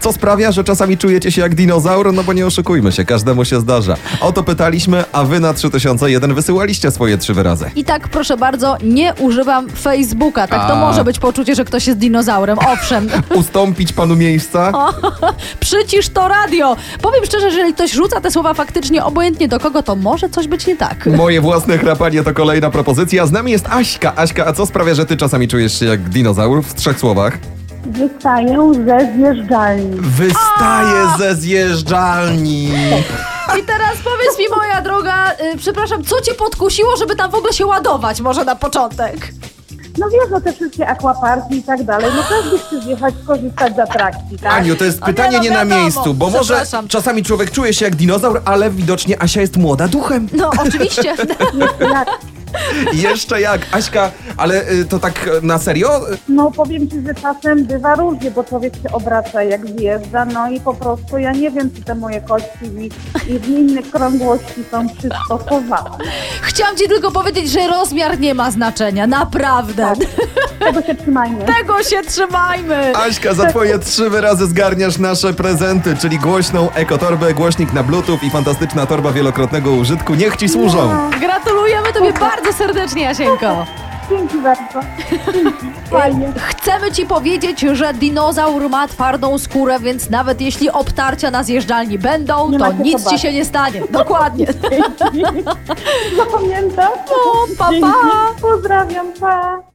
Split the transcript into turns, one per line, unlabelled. co sprawia, że czasami czujecie się jak dinozaur, no bo nie oszukujmy się, każdemu się zdarza. O to pytaliśmy, a wy na 3001 wysyłaliście swoje trzy wyrazy.
I tak, proszę bardzo, nie używam Facebooka. Tak to
A.
może być poczucie, że ktoś jest dinozaurem. Owszem.
Ustąpić panu miejsca?
Przycisz to radio. Powiem szczerze, że jeżeli ktoś rzuca te słowa faktycznie obojętnie do kogo, to może coś być nie tak.
Moje własne chrapanie to kolejna propozycja. Z nami jest Aśka. Aśka, a co sprawia, że ty czasami czujesz się jak dinozaur? W trzech słowach.
Wystają ze zjeżdżalni.
Wystaje ze zjeżdżalni.
I teraz powiedz mi, moja droga, y, przepraszam, co cię podkusiło, żeby tam w ogóle się ładować może na początek?
No wiesz, no te wszystkie akwaparki i tak dalej, no każdy chce zjechać, skorzystać z atrakcji, tak?
Aniu, to jest
A nie,
pytanie
no
nie na
wiadomo.
miejscu, bo może
Przepraszam.
czasami człowiek czuje się jak dinozaur, ale widocznie Asia jest młoda duchem.
No, oczywiście.
Jeszcze No, jak,
Jeszcze jak, Aśka, ale y, to tak y, na serio? Y,
no powiem Ci, że czasem bywa różnie, bo człowiek się obraca jak zjeżdża, no i po prostu ja nie wiem, czy te moje kości i, i w innych krągłości są przystosowane.
Chciałam ci tylko powiedzieć, że rozmiar nie ma znaczenia, naprawdę.
Tak. Tego się trzymajmy. Tak.
Tego się trzymajmy.
Aśka, za twoje trzy wyrazy zgarniasz nasze prezenty, czyli głośną ekotorbę, głośnik na bluetooth i fantastyczna torba wielokrotnego użytku. Niech ci
No.
służą.
Gratulujemy tobie bardzo serdecznie, Jasieńko.
Dzięki bardzo. Dzięki. Fajnie.
Chcemy ci powiedzieć, że dinozaur ma twardą skórę, więc nawet jeśli obtarcia na zjeżdżalni będą,
Nie
to
macie
nic ci
zobaczyć.
się nie stanie. Dokładnie.
Dzięki. Zapamiętam.
No, pa, pa.
Dzięki. Pozdrawiam, pa.